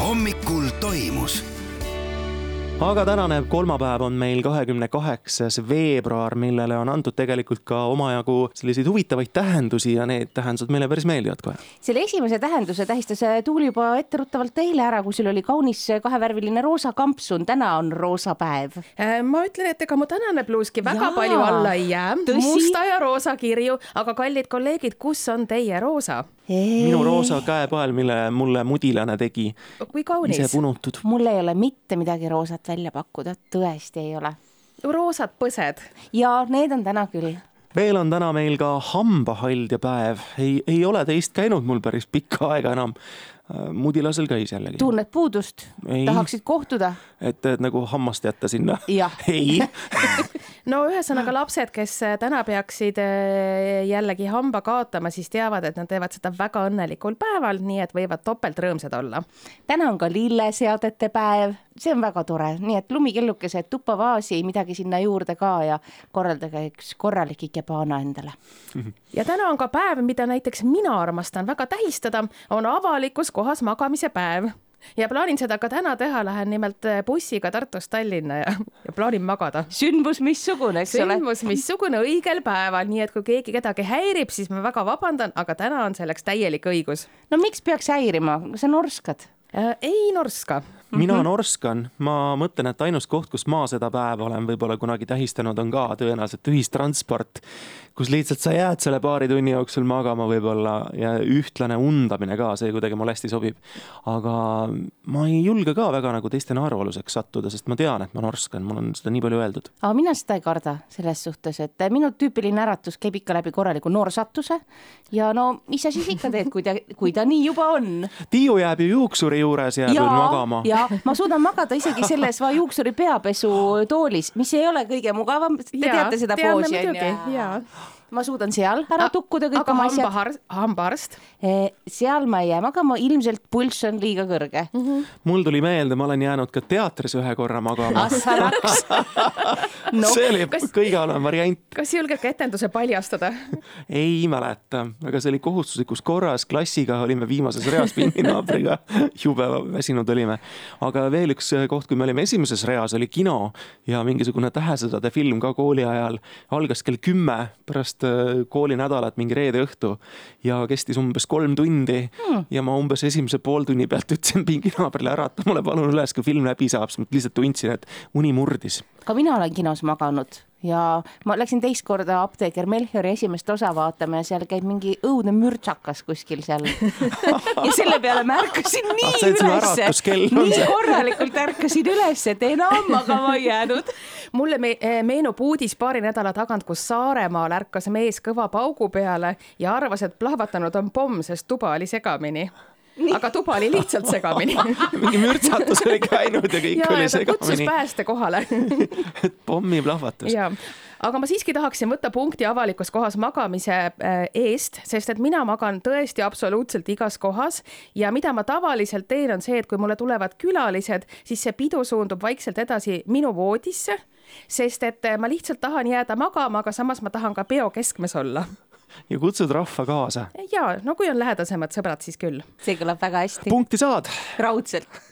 hommikul toimus aga tänane kolmapäev on meil kahekümne kaheksas veebruar , millele on antud tegelikult ka omajagu selliseid huvitavaid tähendusi ja need tähendused meile päris meeldivad kohe . selle esimese tähenduse tähistas äh, Tuuli juba etteruttavalt eile ära , kui sul oli kaunis äh, kahevärviline roosa kampsun , täna on roosa päev . Äh, ma ütlen , et ega mu tänane pluuski väga Jaa. Jaa, palju alla ei jää . Tõsi? musta ja roosa kirju , aga kallid kolleegid , kus on teie roosa ? minu roosa käepael , mille mulle mudilane tegi , kui ise kaunis , punutud . mul ei ole mitte midagi roosat välja pakkuda , tõesti ei ole . roosad põsed . ja need on täna küll . veel on täna meil ka hambahaldja päev , ei , ei ole teist käinud mul päris pikka aega enam . mudilasel käis jällegi , tunned puudust Ei. ? tahaksid kohtuda ? et , et nagu hammast jätta sinna Jah. ei , no ühesõnaga lapsed , kes täna peaksid äh, jällegi hamba kaotama , siis teavad , et nad teevad seda väga õnnelikul päeval , nii et võivad topelt rõõmsad olla . täna on ka lilleseadete päev , see on väga tore , nii et lumikillukesed tuppa vaasi , midagi sinna juurde ka ja korraldage üks korralik ikebaana endale . ja täna on ka päev , mida näiteks mina armastan väga tähistada , on avalikus kohas magamise päev ja plaanin seda ka täna teha , lähen nimelt äh, bussiga Tartust Tallinna ja, ja plaanin magada sündmus missugune , eks ole . sündmus missugune õigel päeval , nii et kui keegi kedagi häirib , siis ma väga vabandan , aga täna on selleks täielik õigus . no miks peaks häirima , sa norskad . ei norska . mina norskan , ma mõtlen , et ainus koht , kus ma seda päeva olen võib-olla kunagi tähistanud , on ka tõenäoliselt ühistransport , kus lihtsalt sa jääd selle paari tunni jooksul magama võib-olla ja ühtlane undamine ka , see kuidagi mulle hästi sobib . aga ma ei julge ka väga nagu teiste naerualuseks sattuda , sest ma tean , et ma norskan , mul on seda nii palju öeldud . aga mina seda ei karda selles suhtes , et minu tüüpiline äratus käib ikka läbi korraliku noorsatuse ja no mis sa siis ikka teed , kui ta , kui ta nii juba on . Tiiu jääb ju juuksuri juures , jääb ju magama . ja ma suudan magada isegi selles va- juuksuri peapesutoolis , mis ei ole kõige mugavam , te ja, teate seda poosi on ju . ma suudan seal ära tukkuda kõik aga oma asjad , hambaarst , hambaarst , seal ma ei jää magama , ilmselt pulss on liiga kõrge mm . -hmm. mul tuli meelde , ma olen jäänud ka teatris ühe korra magama . Assaraks no, see oli kas- kõige halvem variant . kas julged ka etenduse paljastada ? ei mäleta , aga see oli kohustuslikus korras , klassiga olime viimases reas pinginaabriga , jube väsinud olime . aga veel üks koht , kui me olime esimeses reas , oli kino ja mingisugune Tähesõdade film ka kooli ajal algas kell kümme pärast äh, koolinädalat , mingi reede õhtu ja kestis umbes kolm tundi hmm. ja ma umbes esimese pooltunni pealt ütlesin pinginaabrile ära , et mulle palun üles , kui film läbi saab , siis ma lihtsalt tundsin , et uni murdis . ka mina olen kinos maganud ja ma läksin teist korda apteeker Melchiori esimest osa vaatama ja seal käib mingi õudne mürtsakas kuskil seal . ja selle peale ma ärkasin nii Ah, see on sinu ülesse , äratuskell, on nii see? korralikult ärkasin üles , et enam magama ei jäänud . mulle me eh, meenub uudis paari nädala tagant , kus Saaremaal ärkas mees kõva paugu peale ja arvas , et plahvatanud on pomm , sest tuba oli segamini . aga tuba oli lihtsalt segamini . mingi mürtsatus oli käinud ja kõik ja , oli ja ta kutsus segamini . pääste kohale pommiplahvatus . ja , aga ma siiski tahaksin võtta punkti avalikus kohas magamise äh, eest , sest et mina magan tõesti absoluutselt igas kohas ja mida ma tavaliselt teen , on see , et kui mulle tulevad külalised , siis see pidu suundub vaikselt edasi minu voodisse , sest et äh, ma lihtsalt tahan jääda magama , aga samas ma tahan ka peo keskmes olla . ja kutsud rahva kaasa . ja no kui on lähedasemad sõbrad , siis küll . see kõlab väga hästi , punkti saad raudselt .